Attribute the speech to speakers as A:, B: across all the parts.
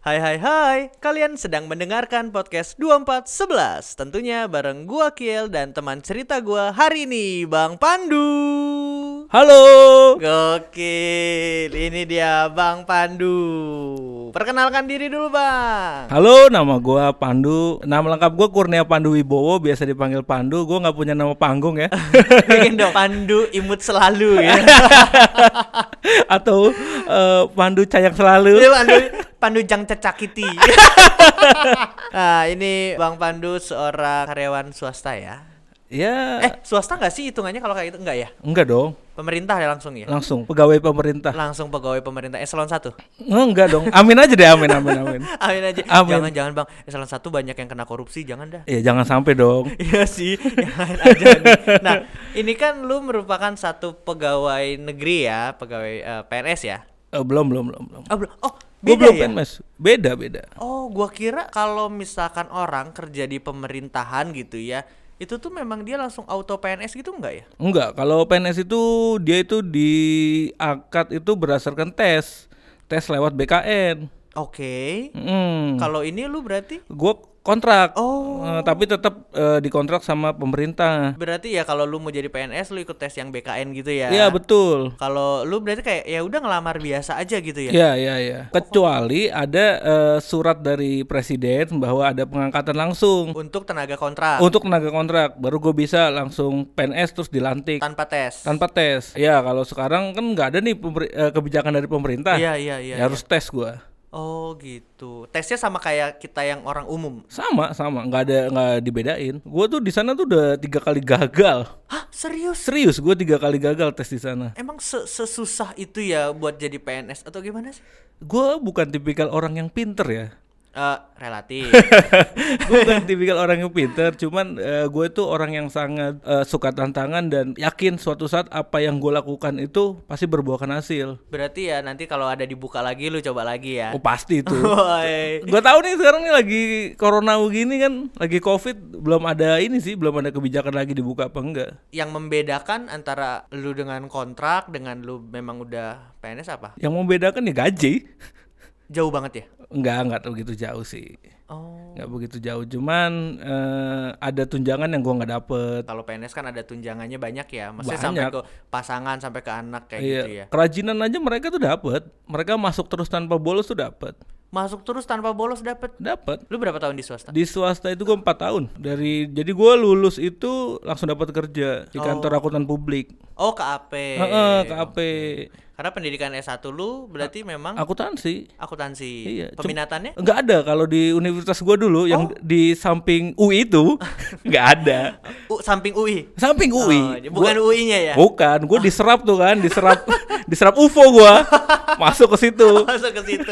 A: Hai hai hai, kalian sedang mendengarkan podcast 2411 Tentunya bareng gua Kiel dan teman cerita gua hari ini Bang Pandu
B: Halo.
A: Gokil, ini dia Bang Pandu Perkenalkan diri dulu Bang
B: Halo, nama gua Pandu. Nama lengkap gua Kurnia Pandu Wibowo, biasa dipanggil Pandu. Gua nggak punya nama panggung ya.
A: Bikin dong Pandu imut selalu ya
B: Atau eh, Pandu Cayang Selalu.
A: Ini Pandu Pandu Jang Cacakiti. nah, ini Bang Pandu seorang karyawan swasta ya.
B: Ya,
A: Eh, swasta nggak sih hitungannya kalau kayak itu enggak ya?
B: enggak dong.
A: Pemerintah ya langsung ya.
B: Langsung pegawai pemerintah.
A: Langsung pegawai pemerintah eselon 1.
B: Eh, enggak dong. Amin aja deh, amin amin amin.
A: Amin aja.
B: Amin.
A: Jangan jangan Bang, eselon 1 banyak yang kena korupsi, jangan dah.
B: Ya jangan sampai dong.
A: Iya sih, yang lain aja nih. Nah, ini kan lu merupakan satu pegawai negeri ya, pegawai eh, PNS ya.
B: Eh, belum belum belum belum.
A: Oh, belum. Oh,
B: Gua
A: beda
B: belum
A: ya?
B: PNS. Beda beda.
A: Oh, gua kira kalau misalkan orang kerja di pemerintahan gitu ya, itu tuh memang dia langsung auto PNS gitu enggak ya?
B: Enggak, kalau PNS itu dia itu diangkat itu berdasarkan tes. Tes lewat BKN.
A: Oke.
B: Mm.
A: Hmm. Kalau ini lu berarti
B: gue kontrak
A: Oh.
B: Eh, tapi tetap eh, dikontrak sama pemerintah
A: berarti ya kalau lu mau jadi PNS lu ikut tes yang BKN gitu ya.
B: iya betul
A: Kalau lu berarti kayak ya udah ngelamar biasa aja gitu ya.
B: Iya, iya, iya. Kecuali ada eh, surat dari presiden bahwa ada pengangkatan langsung
A: Untuk tenaga kontrak
B: untuk tenaga kontrak, baru gue bisa langsung PNS terus dilantik
A: tanpa tes.
B: tanpa tes. Ya, kalau sekarang kan nggak ada nih pemberi- eh, kebijakan dari pemerintah.
A: Iya, iya, iya.
B: Ya, harus tes gue.
A: Oh, gitu. Tesnya sama kayak kita yang orang umum.
B: Sama, sama. Nggak ada nggak dibedain. Gue tuh di sana tuh udah tiga kali gagal.
A: Hah, serius?
B: Serius, gue tiga kali gagal tes di sana.
A: Emang se- sesusah itu ya buat jadi PNS atau gimana sih?
B: gue bukan tipikal orang yang pinter ya
A: Eh, relatif.
B: gue bukan tipikal orang yang pinter cuman eh, gue itu orang yang sangat eh, suka tantangan dan yakin suatu saat apa yang gue lakukan itu pasti berbuahkan hasil
A: Berarti ya nanti kalau ada dibuka lagi lu coba lagi ya.
B: oh pasti itu
A: Woi.
B: gue tahu nih sekarang nih lagi corona gini kan lagi covid belum ada ini sih belum ada kebijakan lagi dibuka apa enggak
A: Yang membedakan antara lu dengan kontrak dengan lu memang udah PNS apa?
B: yang membedakan ya gaji
A: Jauh banget ya?
B: enggak enggak begitu jauh sih
A: Oh.
B: enggak begitu jauh cuman eh, ada tunjangan yang gue nggak dapet
A: Kalau PNS kan ada tunjangannya banyak ya. Maksudnya sampai
B: Banyak.
A: ke pasangan, sampai ke anak kayak
B: Iya,
A: gitu ya.
B: kerajinan aja mereka tuh dapat. Mereka masuk terus tanpa bolos tuh dapat.
A: Masuk terus tanpa bolos dapet.
B: Dapat.
A: Lu berapa tahun di swasta?
B: Di swasta itu gue 4 tahun. Dari jadi gua lulus itu langsung dapat kerja di kantor akuntan publik.
A: Oh, KAP.
B: Heeh, KAP.
A: Karena pendidikan S1 lu berarti memang
B: Akuntansi.
A: akuntansi.
B: Iya, cum-
A: Peminatannya?
B: Enggak ada kalau di universitas gua dulu yang
A: Oh.
B: di samping UI itu enggak ada.
A: U, samping UI.
B: Samping UI.
A: Oh, bukan UI-nya ya.
B: Bukan, gue diserap tuh kan, diserap diserap UFO gua. Masuk ke situ.
A: masuk ke situ.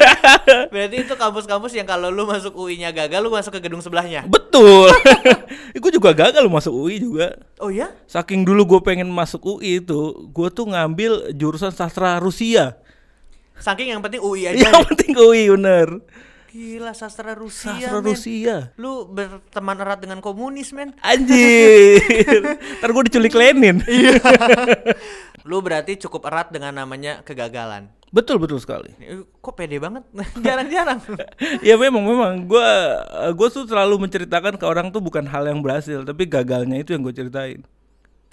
A: Berarti itu kampus-kampus yang kalau lu masuk UI-nya gagal, lu masuk ke gedung sebelahnya.
B: Betul. gue juga gagal loh masuk UI juga.
A: Oh ya?
B: Saking dulu gue pengen masuk UI itu, gue tuh ngambil jurusan sastra Rusia.
A: Saking yang penting UI aja.
B: Yang penting ke UI bener.
A: Gila sastra Rusia. Iya, men.
B: Sastra Rusia.
A: Lu berteman erat dengan komunis, men.
B: Anjir. Ntar gue diculik Lenin.
A: Lu berarti cukup erat dengan namanya kegagalan.
B: betul betul sekali.
A: Eh, Kok pede banget? Jarang-jarang.
B: ya memang memang gue gue tuh selalu menceritakan ke orang tuh bukan hal yang berhasil, tapi gagalnya itu yang gue ceritain.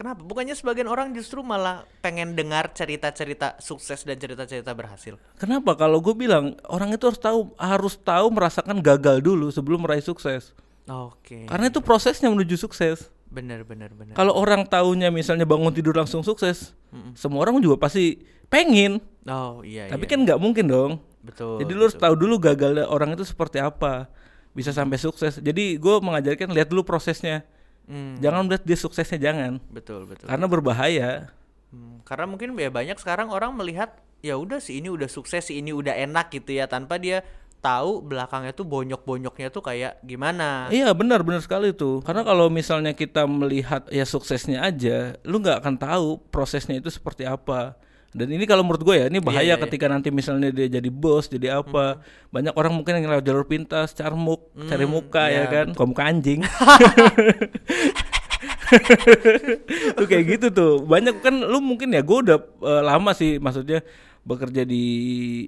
A: Kenapa? Bukannya sebagian orang justru malah pengen dengar cerita-cerita sukses dan cerita-cerita berhasil.
B: Kenapa? Kalau gue bilang orang itu harus tahu harus tahu merasakan gagal dulu sebelum meraih sukses.
A: Oke.
B: Karena itu prosesnya menuju sukses.
A: Bener bener bener.
B: Kalau orang taunya misalnya bangun tidur langsung sukses, semua orang juga pasti pengen.
A: Oh iya
B: Tapi
A: iya.
B: kan nggak mungkin dong.
A: Betul.
B: Jadi lu harus tahu dulu gagalnya orang itu seperti apa, bisa sampai sukses. Jadi gue mengajarkan lihat dulu prosesnya.
A: Hmm,
B: Jangan lihat dia suksesnya jangan,
A: betul betul.
B: karena berbahaya.
A: Hmm, karena mungkin ya banyak sekarang orang melihat ya udah si ini udah sukses, si ini udah enak gitu ya tanpa dia tahu belakangnya tuh bonyok-bonyoknya tuh kayak gimana.
B: Iya benar benar sekali tuh. Karena kalau misalnya kita melihat ya suksesnya aja, lu nggak akan tahu prosesnya itu seperti apa. Dan ini kalau menurut gue ya ini bahaya ketika nanti misalnya dia jadi bos, jadi apa. Banyak orang mungkin yang lewat jalur pintas, carmuk, cari muka
A: ya,
B: ya, kan, kamu anjing. tuh kayak gitu tuh. Banyak kan lu mungkin e, ya gue udah eh, lama sih maksudnya bekerja di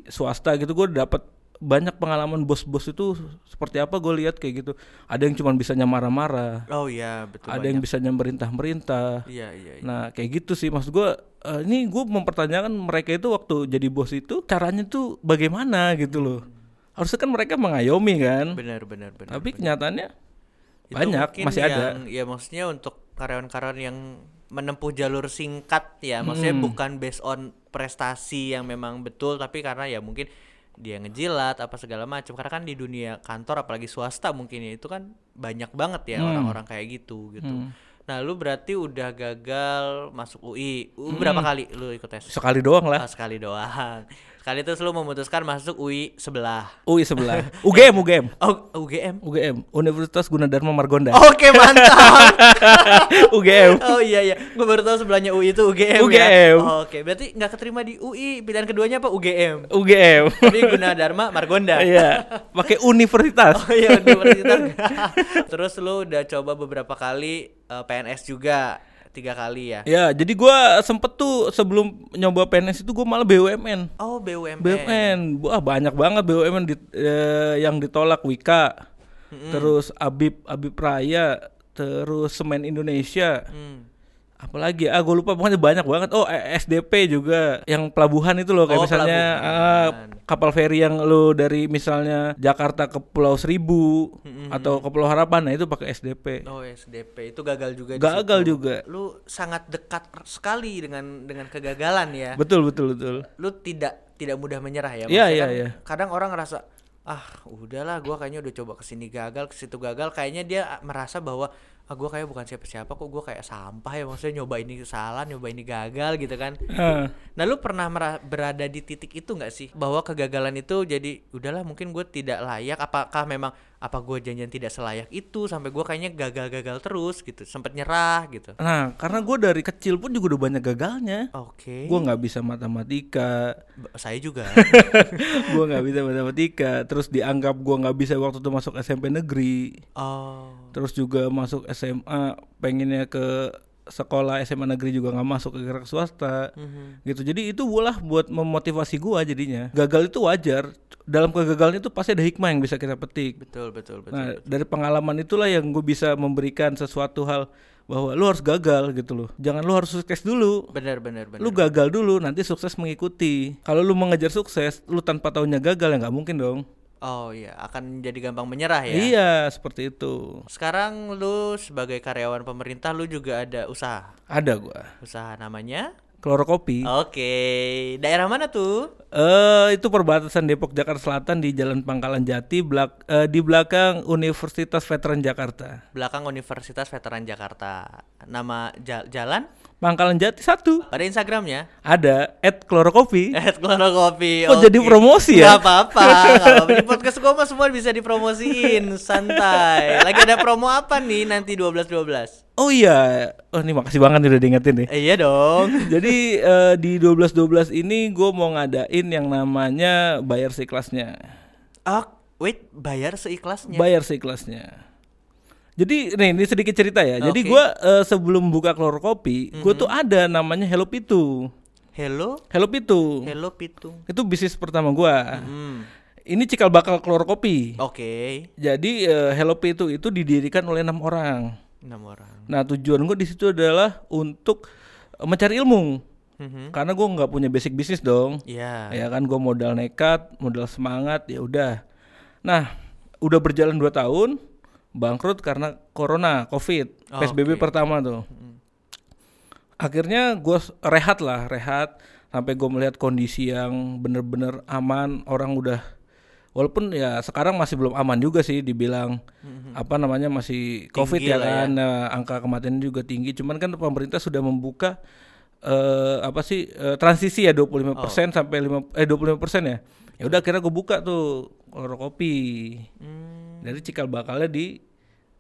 B: swasta gitu gue dapat banyak pengalaman bos-bos itu seperti apa gue lihat kayak gitu ada yang cuma bisanya marah-marah
A: Oh iya, betul.
B: ada yang bisanya merintah-merintah
A: Iya, iya. iya.
B: Nah kayak gitu sih maksud gue eh, Ini gue mempertanyakan mereka itu waktu jadi bos itu Caranya tuh bagaimana gitu loh Harusnya kan mereka mengayomi kan
A: Hmm. Benar, benar, benar.
B: Tapi kenyataannya
A: Itu
B: banyak
A: mungkin
B: masih ada
A: yang- Ya maksudnya untuk karyawan-karyawan yang menempuh jalur singkat ya, maksudnya
B: Hmm.
A: bukan based on prestasi yang memang betul, tapi karena ya mungkin dia ngejilat apa segala macam. Karena kan di dunia kantor apalagi swasta mungkin ya itu kan banyak banget
B: Hmm.
A: ya orang-orang kayak gitu gitu. Nah, lu berarti udah gagal masuk UI. U-
B: Hmm.
A: Berapa kali lu ikut tes?
B: Sekali doang lah
A: Ah, sekali doang. Sekali terus lu memutuskan masuk UI sebelah.
B: UI sebelah UGM UGM
A: Oh, UGM.
B: UGM Universitas Gunadarma Margonda
A: Oke, mantap.
B: UGM
A: Oh iya iya, gue baru tahu sebelahnya UI itu UGM. Ya?
B: UGM.
A: Oh, Oke, berarti nggak keterima di UI. Pilihan keduanya apa UGM?
B: UGM
A: Tapi Gunadarma Margonda.
B: Iya pakai universitas
A: Oh iya, universitas. Terus lu udah coba beberapa kali eh, PNS juga tiga kali ya?
B: Ya jadi gua sempet tuh sebelum nyoba PNS itu gue malah BUMN
A: Oh BUMN.
B: BUMN, wah banyak banget BUMN di, eh, yang ditolak Wika, terus Abib Abib Raya, terus Semen Indonesia,
A: Hmm.
B: apalagi ah gue lupa pokoknya banyak banget. Oh eh, SDP juga, yang pelabuhan itu loh kayak
A: Oh,
B: misalnya ah, kapal feri yang lo dari misalnya Jakarta ke Pulau Seribu atau ke Pulau Harapan, nah itu pakai SDP.
A: Oh SDP itu gagal juga. di
B: Gagal
A: situ.
B: juga,
A: Lu sangat dekat sekali dengan dengan kegagalan ya.
B: betul betul betul.
A: lu tidak tidak mudah menyerah ya.
B: Iya,
A: Maksudnya
B: iya,
A: kan
B: iya.
A: Kadang orang ngerasa ah udahlah gua kayaknya udah coba kesini gagal ke situ gagal kayaknya dia merasa bahwa ah gua kayak bukan siapa-siapa kok gua kayak sampah ya maksudnya nyoba ini salah nyoba ini gagal gitu kan
B: Ah.
A: nah lu pernah mera- berada di titik itu nggak sih bahwa kegagalan itu jadi udahlah mungkin gue tidak layak apakah memang apa gue janjian tidak selayak itu sampai gua kayaknya gagal-gagal terus gitu sempet nyerah gitu
B: Nah karena gue dari kecil pun juga udah banyak gagalnya.
A: oke
B: Gue nggak bisa matematika,
A: B- saya juga
B: gue nggak bisa matematika terus dianggap gue nggak bisa waktu itu masuk SMP negeri
A: oh
B: terus juga masuk SMA pengennya ke sekolah SMA negeri juga nggak masuk ke gerak swasta
A: Mhm.
B: gitu jadi itu bolah buat memotivasi gua jadinya gagal itu wajar dalam kegagalan itu pasti ada hikmah yang bisa kita petik
A: betul betul betul
B: nah dari pengalaman itulah yang gue bisa memberikan sesuatu hal bahwa lu harus gagal gitu loh jangan lu harus sukses dulu
A: benar benar benar
B: lu gagal dulu nanti sukses mengikuti kalau lu mengejar sukses lu tanpa tahunya gagal ya nggak mungkin dong
A: Oh iya, akan jadi gampang menyerah ya.
B: iya seperti itu
A: Sekarang lu sebagai karyawan pemerintah lu juga ada usaha.
B: ada gua
A: Usaha namanya?
B: klorokopi eh
A: Oke, daerah mana tuh?
B: itu perbatasan Depok Jakarta Selatan di Jalan Pangkalan Jati belak eh, di belakang Universitas Veteran Jakarta
A: Belakang Universitas Veteran Jakarta. Nama ja- jalan?
B: Pangkalan Jati satu
A: Ada Instagramnya?
B: ada at klorokopi
A: At Kloro Kopi.
B: Iya. Kok jadi promosi ya?
A: Gak apa-apa. nggak apa-apa. Di podcast gua mah semua bisa dipromosiin. Santai. Lagi ada promo apa nih nanti 12-12?
B: oh iya oh ini makasih banget nih udah diingetin nih
A: Eh, iya dong.
B: jadi eh, di 12-12 ini gue mau ngadain yang namanya bayar sekelasnya
A: Oh, wait, bayar seikhlasnya.
B: bayar seikhlasnya. Jadi nih ini sedikit cerita ya.
A: Oke.
B: Jadi gua eh, sebelum buka klor kopi, gua tuh ada namanya Hello Pitu.
A: Hello?
B: Hello Pitu.
A: Hello Pitung.
B: Itu bisnis pertama gua.
A: Hmm.
B: Ini cikal bakal klor kopi.
A: Oke,
B: Jadi eh, Hello Pitu itu didirikan oleh enam orang.
A: enam orang.
B: Nah, tujuan gua di situ adalah untuk eh, mencari ilmu.
A: Mhm.
B: Karena gua nggak punya basic bisnis dong.
A: Iya.
B: Ya kan gue modal nekat, modal semangat, ya udah. Nah, udah berjalan 2 tahun, bangkrut karena corona, covid,
A: Oh,
B: psbb pertama tuh. Akhirnya gue rehat lah, rehat sampai gue melihat kondisi yang bener-bener aman, orang udah walaupun ya sekarang masih belum aman juga sih, dibilang apa namanya masih covid
A: Mhm. Tinggi
B: ya
A: lah ya.
B: kan, Nah, angka kematian juga tinggi. Cuman kan pemerintah sudah membuka eh apa sih eh, transisi ya 25%
A: Oh.
B: sampai 5 eh 25% ya. Ya udah akhirnya gue buka tuh kolor kopi. Dari cikal bakalnya di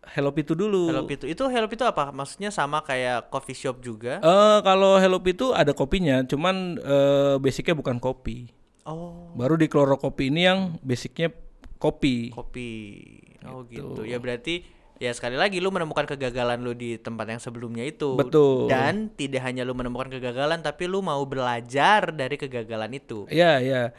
B: Hello Pitu dulu.
A: Hmm. Hello Pitu. Itu Hello Pitu apa? Maksudnya sama kayak coffee shop juga?
B: Eh, kalau Hello Pitu ada kopinya, cuman eh, basicnya bukan kopi.
A: Oh,
B: Baru di kolor kopi ini yang basicnya kopi.
A: kopi. Oh gitu. Ya berarti ya sekali lagi lu menemukan kegagalan lu di tempat yang sebelumnya itu.
B: Betul.
A: Dan tidak hanya lu menemukan kegagalan tapi lu mau belajar dari kegagalan itu.
B: Iya, iya. Ya,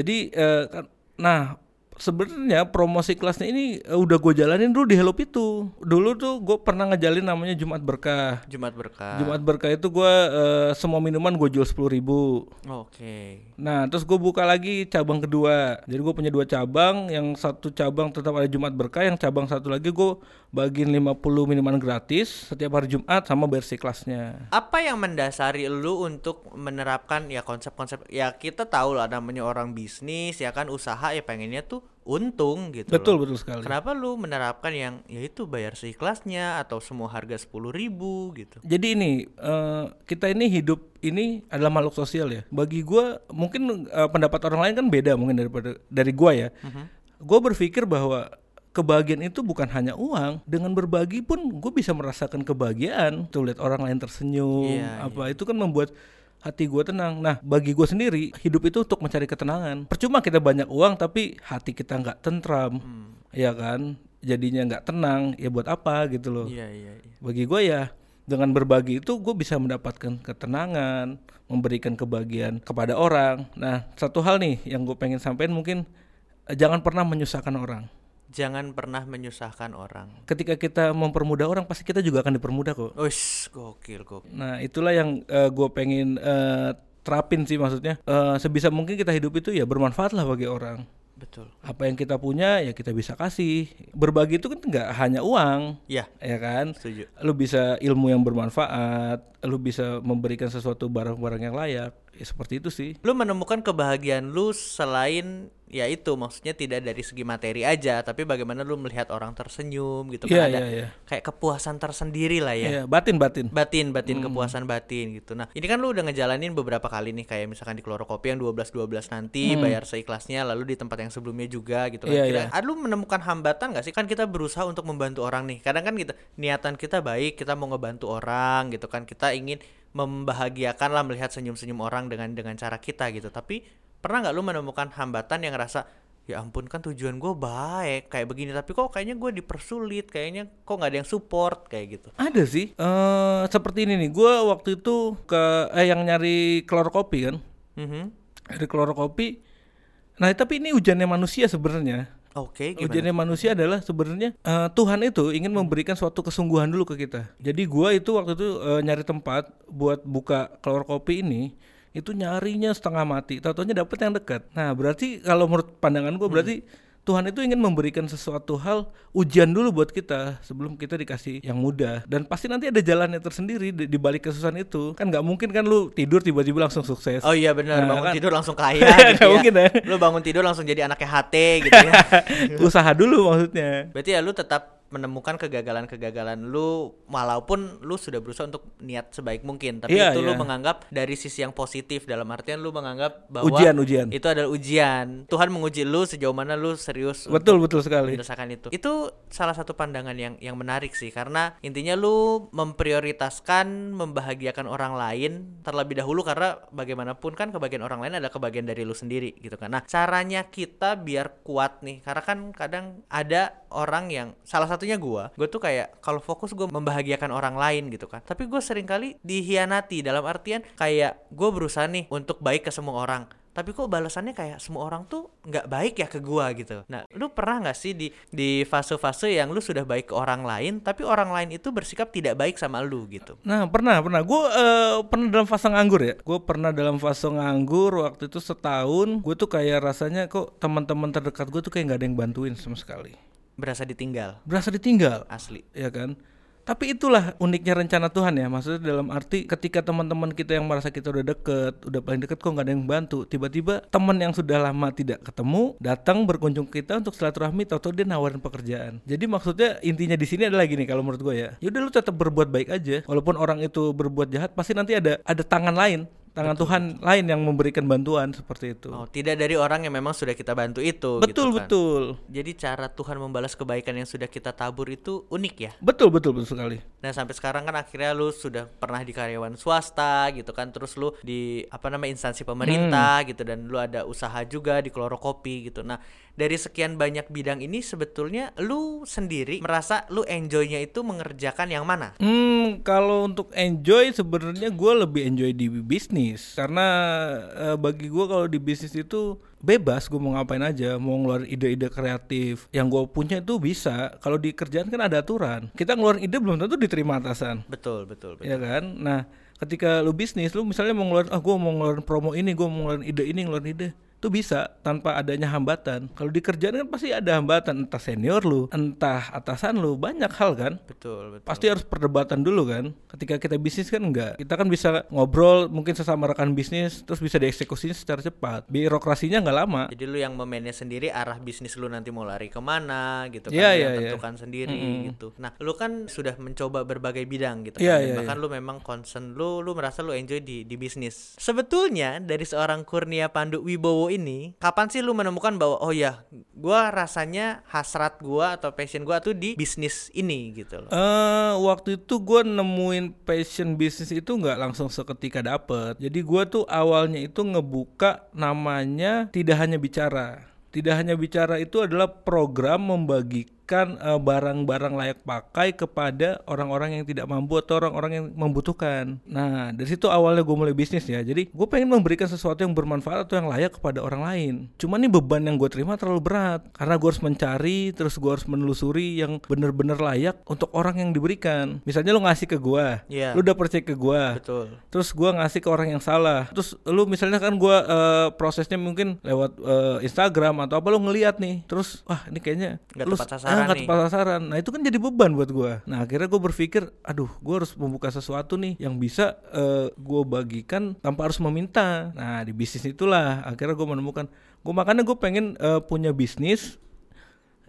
B: Jadi eh, kan- Nah, sebenarnya promosi kelasnya ini eh, udah gue jalanin dulu di Hello itu. Dulu tuh gue pernah ngejalin namanya Jumat Berkah.
A: Jumat berkah.
B: Jumat Berkah itu gue eh, semua minuman gue jual sepuluh ribu.
A: Oke.
B: Nah, terus gue buka lagi cabang kedua. Jadi gue punya dua cabang, yang satu cabang tetap ada Jumat berkah, yang cabang satu lagi gue bagiin 50 minuman gratis setiap hari Jumat sama bersih kelasnya.
A: Apa yang mendasari lu untuk menerapkan ya konsep-konsep ya kita tahu lah namanya orang bisnis ya kan usaha ya pengennya tuh untung gitu.
B: Betul,
A: loh.
B: betul sekali.
A: Kenapa lu menerapkan yang yaitu bayar seikhlasnya atau semua harga sepuluh ribu gitu?
B: Jadi ini eh, kita ini hidup ini adalah makhluk sosial ya. Bagi gua mungkin eh, pendapat orang lain kan beda mungkin daripada dari gua ya.
A: Mhm.
B: Gua berpikir bahwa kebahagiaan itu bukan hanya uang. Dengan berbagi pun gue bisa merasakan kebahagiaan. Tuh lihat orang lain tersenyum,
A: Iya,
B: apa itu kan membuat hati gua tenang. Nah, bagi gua sendiri hidup itu untuk mencari ketenangan. Percuma kita banyak uang tapi hati kita nggak tentram,
A: Hmm.
B: ya kan? Jadinya nggak tenang. Ya buat apa gitu loh?
A: Iya iya iya.
B: bagi gue ya dengan berbagi itu gue bisa mendapatkan ketenangan memberikan kebahagiaan kepada orang nah satu hal nih yang gue pengen sampaikan mungkin eh, jangan pernah menyusahkan orang
A: Jangan pernah menyusahkan orang.
B: ketika kita mempermudah orang pasti kita juga akan dipermudah kok
A: Ush, gokil gokil.
B: nah itulah yang gue pengen eh, terapin sih maksudnya Eh, sebisa mungkin kita hidup itu ya bermanfaat lah bagi orang
A: Betul.
B: apa yang kita punya ya kita bisa kasih berbagi itu kan nggak hanya uang
A: Ya,
B: ya kan
A: setuju.
B: lu bisa ilmu yang bermanfaat, lu bisa memberikan sesuatu barang-barang yang layak, ya seperti itu sih.
A: Lu menemukan kebahagiaan lu selain ya itu maksudnya tidak dari segi materi aja, tapi bagaimana lu melihat orang tersenyum gitu kan
B: Iya,
A: ada
B: iya, iya.
A: kayak kepuasan tersendiri lah ya.
B: Iya, batin-batin.
A: Batin, batin
B: Hmm.
A: kepuasan batin gitu. Nah, ini kan lu udah ngejalanin beberapa kali nih kayak misalkan di Klorokopi yang 12 12 nanti bayar seikhlasnya lalu di tempat yang sebelumnya juga gitu kan.
B: Hmm. Iya,
A: Kira-
B: iya.
A: ah, lu menemukan hambatan gak sih? Kan kita berusaha untuk membantu orang nih. Kadang kan kita niatan kita baik, kita mau ngebantu orang gitu kan. Kita ingin membahagiakan lah melihat senyum-senyum orang dengan dengan cara kita gitu. Tapi pernah nggak lu menemukan hambatan yang ngerasa ya ampun kan tujuan gue baik kayak begini tapi kok kayaknya gue dipersulit kayaknya kok nggak ada yang support kayak gitu
B: Ada sih. Eh seperti ini nih, gue waktu itu ke eh yang nyari klor kopi kan,
A: Mhm.
B: dari klor kopi. Nah tapi ini hujannya manusia sebenarnya.
A: Oke, gimana?
B: Ujiannya manusia adalah sebenarnya eh, Tuhan itu ingin memberikan suatu kesungguhan dulu ke kita. Jadi gua itu waktu itu eh, nyari tempat buat buka kelor kopi ini itu nyarinya setengah mati. Tatonya dapet yang dekat. Nah berarti kalau menurut pandangan gua berarti
A: Hmm.
B: Tuhan itu ingin memberikan sesuatu hal ujian dulu buat kita sebelum kita dikasih yang mudah dan pasti nanti ada jalannya tersendiri di, di balik kesusahan itu kan nggak mungkin kan lu tidur tiba-tiba langsung sukses
A: Oh iya benar,
B: Nah,
A: bangun
B: kan.
A: tidur langsung kaya
B: Nggak
A: gitu ya.
B: mungkin ya.
A: Lu bangun tidur langsung jadi anaknya HT gitu ya.
B: usaha dulu maksudnya
A: Berarti ya lu tetap menemukan kegagalan-kegagalan lu walaupun lu sudah berusaha untuk niat sebaik mungkin, tapi
B: Iya,
A: itu lu
B: iya.
A: menganggap dari sisi yang positif dalam artian lu menganggap bahwa
B: ujian ujian
A: itu adalah ujian. Tuhan menguji lu sejauh mana lu serius
B: betul betul sekali
A: merasakan itu. Itu salah satu pandangan yang yang menarik sih karena intinya lu memprioritaskan membahagiakan orang lain terlebih dahulu karena bagaimanapun kan kebahagiaan orang lain adalah kebahagiaan dari lu sendiri gitu kan. Nah, caranya kita biar kuat nih karena kan kadang ada orang yang salah satunya gua, gua tuh kayak kalau fokus gua membahagiakan orang lain gitu kan. Tapi gua sering kali dihianati dalam artian kayak gua berusaha nih untuk baik ke semua orang tapi kok balasannya kayak semua orang tuh nggak baik ya ke gua gitu. Nah, lu pernah nggak sih di di fase-fase yang lu sudah baik ke orang lain, tapi orang lain itu bersikap tidak baik sama lu gitu?
B: Nah pernah pernah gue eh, pernah dalam fase nganggur ya gue pernah dalam fase nganggur waktu itu setahun gue tuh kayak rasanya kok teman-teman terdekat gue tuh kayak nggak ada yang bantuin sama sekali
A: Berasa ditinggal
B: berasa ditinggal
A: asli.
B: ya kan tapi itulah uniknya rencana Tuhan ya maksudnya dalam arti ketika teman-teman kita yang merasa kita udah deket udah paling deket kok nggak ada yang bantu tiba-tiba teman yang sudah lama tidak ketemu datang berkunjung ke kita untuk silaturahmi atau dia nawarin pekerjaan jadi maksudnya intinya di sini adalah gini kalau menurut gue ya yaudah lu tetap berbuat baik aja walaupun orang itu berbuat jahat pasti nanti ada ada tangan lain tangan Tuhan lain yang memberikan bantuan seperti itu
A: Oh, tidak dari orang yang memang sudah kita bantu itu gitu
B: betul
A: kan.
B: betul
A: Jadi cara Tuhan membalas kebaikan yang sudah kita tabur itu unik ya.
B: betul betul betul sekali
A: Nah sampai sekarang kan akhirnya lu sudah pernah di karyawan swasta gitu kan Terus lu Hmm. di apa namanya instansi pemerintah gitu Dan lu ada usaha juga di klorokopi gitu Nah dari sekian banyak bidang ini sebetulnya lu sendiri merasa lu enjoynya itu mengerjakan yang mana?
B: Hmm, kalau untuk enjoy sebenarnya gue lebih enjoy di bisnis karena eh, bagi gue kalau di bisnis itu bebas gue mau ngapain aja mau ngeluarin ide-ide kreatif yang gue punya itu bisa kalau di kerjaan kan ada aturan kita ngeluarin ide belum tentu diterima atasan
A: Betul, betul, betul.
B: ya kan nah ketika lu bisnis lu misalnya mau ngeluarin ah gue mau ngeluarin promo ini gue mau ngeluarin ide ini ngeluarin ide itu bisa tanpa adanya hambatan kalau di kerjaan kan pasti ada hambatan entah senior lu entah atasan lu banyak hal kan
A: Betul, betul.
B: pasti harus perdebatan dulu kan ketika kita bisnis kan enggak kita kan bisa ngobrol mungkin sesama rekan bisnis terus bisa dieksekusiin secara cepat birokrasinya nggak lama
A: Jadi lu yang memanage sendiri arah bisnis lu nanti mau lari kemana gitu kan
B: Iya,
A: lu
B: iya,
A: yang
B: iya.
A: tentukan sendiri gitu. Nah lu kan sudah mencoba berbagai bidang gitu
B: Iya,
A: kan, dan
B: iya,
A: bahkan lu memang concern lu lu merasa lu enjoy di di bisnis. Sebetulnya dari seorang Kurnia Pandu Wibowo ini, kapan sih lu menemukan bahwa oh ya gua rasanya hasrat gua atau passion gua tuh di bisnis ini gitu loh.
B: eh waktu itu gue nemuin passion bisnis itu nggak langsung seketika dapet. Jadi gue tuh awalnya itu ngebuka namanya tidak hanya bicara. Tidak hanya bicara itu adalah program membagikan eh, barang-barang layak pakai kepada orang-orang yang tidak mampu atau orang-orang yang membutuhkan. Nah dari situ awalnya gue mulai bisnis ya. Jadi gue pengen memberikan sesuatu yang bermanfaat atau yang layak kepada orang lain. Cuman nih beban yang gue terima terlalu berat karena gue harus mencari terus gue harus menelusuri yang bener-bener layak untuk orang yang diberikan. Misalnya lo ngasih ke gue,
A: Iya.
B: lo udah percaya ke gue,
A: Betul.
B: terus gua ngasih ke orang yang salah terus lu misalnya kan gua eh, prosesnya mungkin lewat eh, Instagram atau apa lu ngeliat nih terus wah ini kayaknya
A: Nggak
B: lu-
A: tepat sasaran
B: ah, nggak
A: nih.
B: tepat sasaran nah itu kan jadi beban buat gua nah akhirnya gua berpikir aduh gua harus membuka sesuatu nih yang bisa eh, gua bagikan tanpa harus meminta nah di bisnis itulah akhirnya gua menemukan gua makanya gua pengen eh, punya bisnis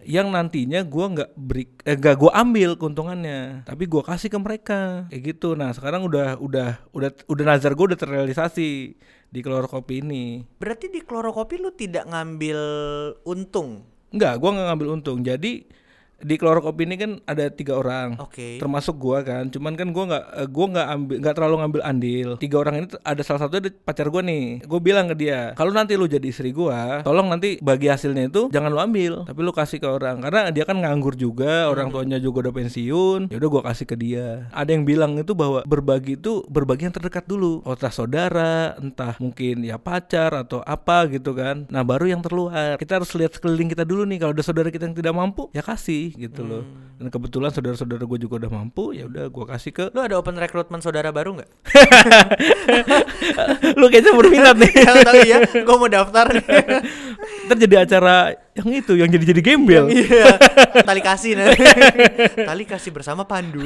B: yang nantinya gua nggak beri eh, nggak gua ambil keuntungannya tapi gua kasih ke mereka kayak gitu nah sekarang udah udah udah udah nazar gua udah terrealisasi di keluar kopi ini
A: Berarti di klorokopi lu tidak ngambil untung.
B: nggak gua nggak ngambil untung jadi di keluar kopi ini kan ada tiga orang
A: Oke.
B: termasuk gua kan cuman kan gua nggak eh, gua nggak ambil nggak terlalu ngambil andil tiga orang ini t- ada salah satu pacar gua nih gua bilang ke dia kalau nanti lu jadi istri gua tolong nanti bagi hasilnya itu jangan lu ambil tapi lu kasih ke orang karena dia kan nganggur juga orang tuanya juga udah pensiun ya udah gua kasih ke dia ada yang bilang itu bahwa berbagi itu berbagi yang terdekat dulu entah saudara entah mungkin ya pacar atau apa gitu kan nah baru yang terluar kita harus lihat sekeliling kita dulu nih kalau ada saudara kita yang tidak mampu ya kasih gitu loh dan kebetulan saudara-saudara gue juga udah mampu ya udah gue kasih ke
A: Lu ada open recruitment saudara baru nggak?
B: lu kayaknya berminat nih
A: Kalau tahu ya, gua mau daftar.
B: ntar jadi acara yang itu yang jadi jadi gembel
A: Iya, tali kasih nanti. tali kasih bersama Pandu.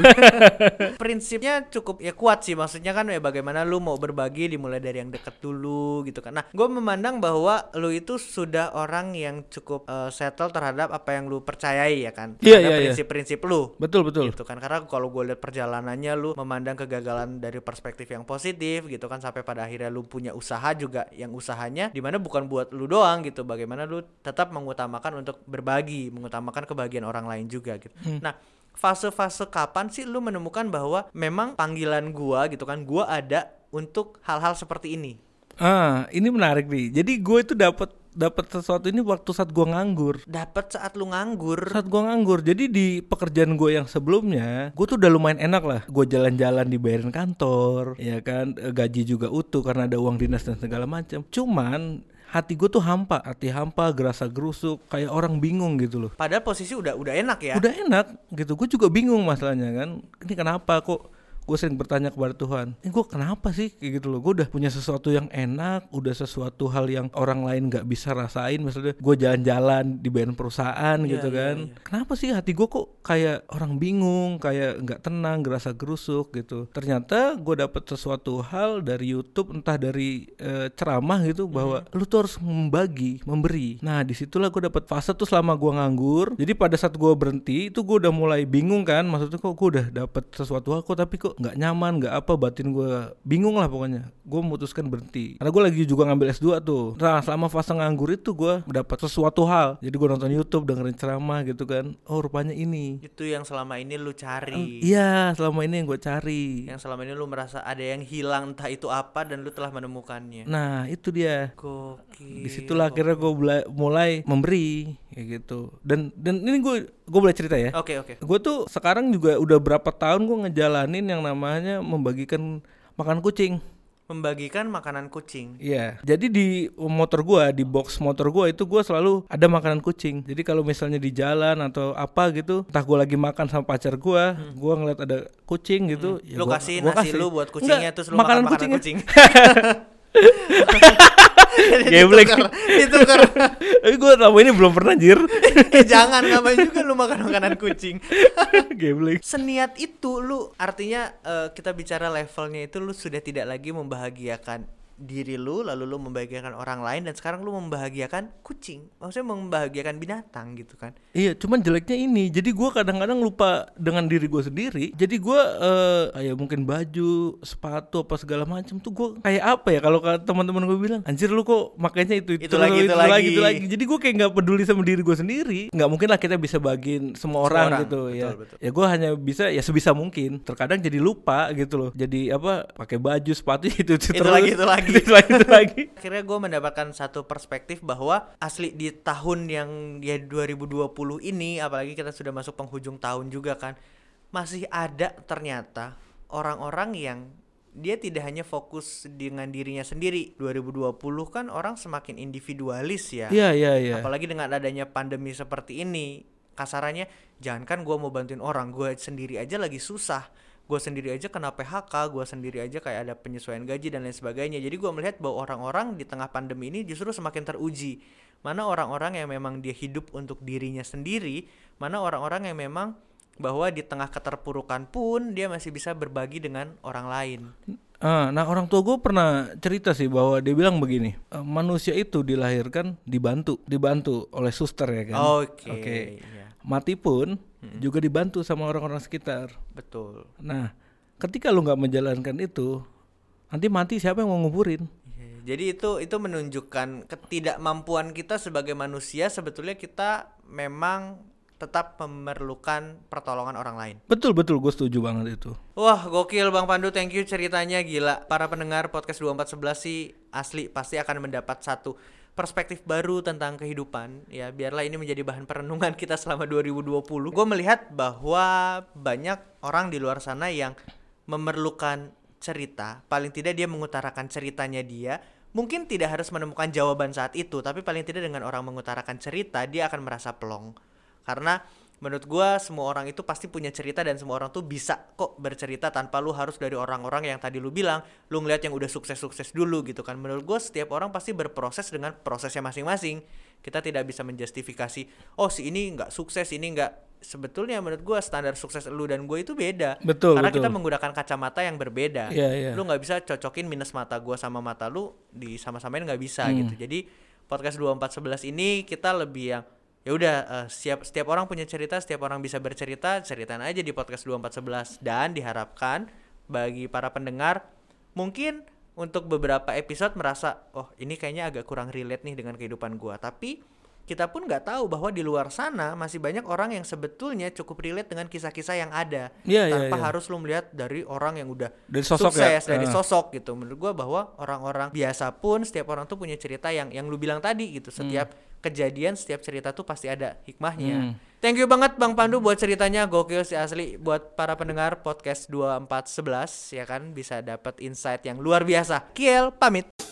A: Prinsipnya cukup ya kuat sih, maksudnya kan ya bagaimana lu mau berbagi dimulai dari yang deket dulu gitu kan. Nah, gue memandang bahwa lu itu sudah orang yang cukup eh, settle terhadap apa yang lu percayai ya kan.
B: Iya,
A: Terhadap
B: iya, iya.
A: Prinsip-prinsip lu.
B: betul betul
A: gitu kan karena kalau gue lihat perjalanannya lu memandang kegagalan dari perspektif yang positif gitu kan sampai pada akhirnya lu punya usaha juga yang usahanya dimana bukan buat lu doang gitu bagaimana lu tetap mengutamakan untuk berbagi mengutamakan kebahagiaan orang lain juga gitu
B: Hmm.
A: nah fase-fase kapan sih lu menemukan bahwa memang panggilan gua gitu kan gua ada untuk hal-hal seperti ini
B: ah ini menarik nih jadi gue itu dapat dapat sesuatu ini waktu saat gue nganggur
A: dapat saat lu nganggur
B: saat gue nganggur jadi di pekerjaan gue yang sebelumnya gue tuh udah lumayan enak lah gue jalan-jalan dibayarin kantor ya kan eh, gaji juga utuh karena ada uang dinas dan segala macam cuman hati gue tuh hampa hati hampa gerasa gerusuk kayak orang bingung gitu loh
A: padahal posisi udah udah enak ya
B: udah enak gitu gue juga bingung masalahnya kan ini kenapa kok gue sering bertanya kepada Tuhan ini gue kenapa sih kayak gitu loh gue udah punya sesuatu yang enak udah sesuatu hal yang orang lain nggak bisa rasain misalnya gue jalan-jalan di band perusahaan gitu
A: iya,
B: kan kenapa sih hati gue kok kayak orang bingung kayak nggak tenang gerasa gerusuk gitu ternyata gue dapet sesuatu hal dari YouTube entah dari eh, ceramah
A: Hmm.
B: gitu bahwa lu tuh harus membagi memberi nah disitulah gue dapet fase tuh selama gue nganggur jadi pada saat gue berhenti itu gue udah mulai bingung kan maksudnya kok gue udah dapet sesuatu hal kok tapi kok nggak nyaman nggak apa batin gue bingung lah pokoknya gue memutuskan berhenti karena gue lagi juga ngambil S2 tuh nah selama fase nganggur itu gue dapat sesuatu hal jadi gue nonton YouTube dengerin ceramah gitu kan oh rupanya ini
A: itu yang selama ini lu cari
B: iya selama ini yang gue cari
A: yang selama ini lu merasa ada yang hilang entah itu apa dan lu telah menemukannya.
B: nah itu dia
A: Gokil.
B: disitulah akhirnya gue mulai memberi kayak gitu dan dan ini gue gue boleh cerita ya
A: Oke oke.
B: gue tuh sekarang juga udah berapa tahun gue ngejalanin yang namanya membagikan makan kucing
A: Membagikan makanan kucing.
B: Iya. Jadi di motor gua, di box motor gua itu gua selalu ada makanan kucing. Jadi kalau misalnya di jalan atau apa gitu, entah gua lagi makan sama pacar gua, gua ngeliat ada kucing gitu,
A: Hmm. Lu
B: gua-
A: kasih
B: gua
A: nasi
B: kasih.
A: lu buat
B: Enggak,
A: kucingnya terus lu makan makanan kucing.
B: kucingnya.
A: kucing.
B: Geblek.
A: Itu kan
B: Eh, gua selama ini belum pernah anjir.
A: Eh, jangan ngapain juga lu makan makanan kucing.
B: Geblek.
A: Seniat itu lu artinya eh, kita bicara levelnya itu lu sudah tidak lagi membahagiakan diri lu lalu lu membahagiakan orang lain dan sekarang lu membahagiakan kucing. Maksudnya membahagiakan binatang gitu kan.
B: Iya, cuman jeleknya ini. Jadi gua kadang-kadang lupa dengan diri gua sendiri. Jadi gua eh kayak mungkin baju, sepatu apa segala macam tuh gua kayak apa ya kalau kata teman-teman gua bilang, "Anjir lu kok makanya itu itu,
A: Itu lagi, itu lagi."
B: itu lagi." Jadi gua kayak nggak peduli sama diri gua sendiri. nggak mungkin lah kita bisa bagiin semua orang,
A: orang,
B: gitu ya.
A: betul, betul.
B: Ya gua hanya bisa ya sebisa mungkin. Terkadang jadi lupa gitu loh. Jadi apa pakai baju, sepatu itu itu,
A: Itu lagi, itu lagi.
B: itu lagi, itu lagi.
A: Akhirnya gue mendapatkan satu perspektif bahwa asli di tahun yang ya 2020 ini apalagi kita sudah masuk penghujung tahun juga kan masih ada ternyata orang-orang yang dia tidak hanya fokus dengan dirinya sendiri. 2020 kan orang semakin individualis ya.
B: Iya, iya, iya.
A: Apalagi dengan adanya pandemi seperti ini, kasarannya jangankan gua mau bantuin orang, gua sendiri aja lagi susah. Gua sendiri aja kena PHK, gua sendiri aja kayak ada penyesuaian gaji dan lain sebagainya. Jadi gua melihat bahwa orang-orang di tengah pandemi ini justru semakin teruji. Mana orang-orang yang memang dia hidup untuk dirinya sendiri, mana orang-orang yang memang bahwa di tengah keterpurukan pun dia masih bisa berbagi dengan orang lain.
B: Ah, nah orang tua gue pernah cerita sih bahwa dia bilang begini "Eh, manusia itu dilahirkan dibantu dibantu oleh suster ya kan
A: Oke.
B: Oke.
A: iya,
B: mati pun juga dibantu sama orang-orang sekitar
A: betul.
B: nah ketika lu nggak menjalankan itu nanti mati siapa yang mau nguburin
A: Iya, Jadi itu itu menunjukkan ketidakmampuan kita sebagai manusia sebetulnya kita memang tetap memerlukan pertolongan orang lain.
B: betul betul gue setuju banget itu
A: Wah, gokil Bang Pandu, thank you ceritanya gila. Para pendengar podcast 2411 sih asli pasti akan mendapat satu perspektif baru tentang kehidupan. Ya, biarlah ini menjadi bahan perenungan kita selama 2020. Gue melihat bahwa banyak orang di luar sana yang memerlukan cerita, paling tidak dia mengutarakan ceritanya dia. Mungkin tidak harus menemukan jawaban saat itu, tapi paling tidak dengan orang mengutarakan cerita dia akan merasa pelong karena menurut gua semua orang itu pasti punya cerita dan semua orang tuh bisa kok bercerita tanpa lu harus dari orang-orang yang tadi lu bilang lu ngeliat yang udah sukses-sukses dulu gitu kan menurut gua setiap orang pasti berproses dengan prosesnya masing-masing kita tidak bisa menjustifikasi oh si ini nggak sukses ini nggak sebetulnya menurut gua standar sukses lu dan gue itu beda
B: Betul,
A: karena
B: betul.
A: kita menggunakan kacamata yang berbeda
B: Iya, iya.
A: Ya. lu nggak bisa cocokin minus mata gua sama mata lu di sama-samain nggak bisa
B: Hmm.
A: gitu jadi podcast 2411 ini kita lebih yang ya udah eh, siap setiap orang punya cerita setiap orang bisa bercerita ceritain aja di podcast 2411 dan diharapkan bagi para pendengar mungkin untuk beberapa episode merasa oh ini kayaknya agak kurang relate nih dengan kehidupan gua tapi kita pun nggak tahu bahwa di luar sana masih banyak orang yang sebetulnya cukup relate dengan kisah-kisah yang ada
B: Iya, iya,
A: tanpa
B: iya.
A: harus lu melihat dari orang yang udah
B: Dari sosok ya?
A: sukses dari
B: Ah.
A: sosok gitu menurut gua bahwa orang-orang biasa pun setiap orang tuh punya cerita yang yang lu bilang tadi gitu setiap
B: Hmm.
A: kejadian setiap cerita tuh pasti ada hikmahnya thank you banget Bang Pandu buat ceritanya gokil sih asli buat para pendengar podcast 2411 ya kan bisa dapat insight yang luar biasa Kiel pamit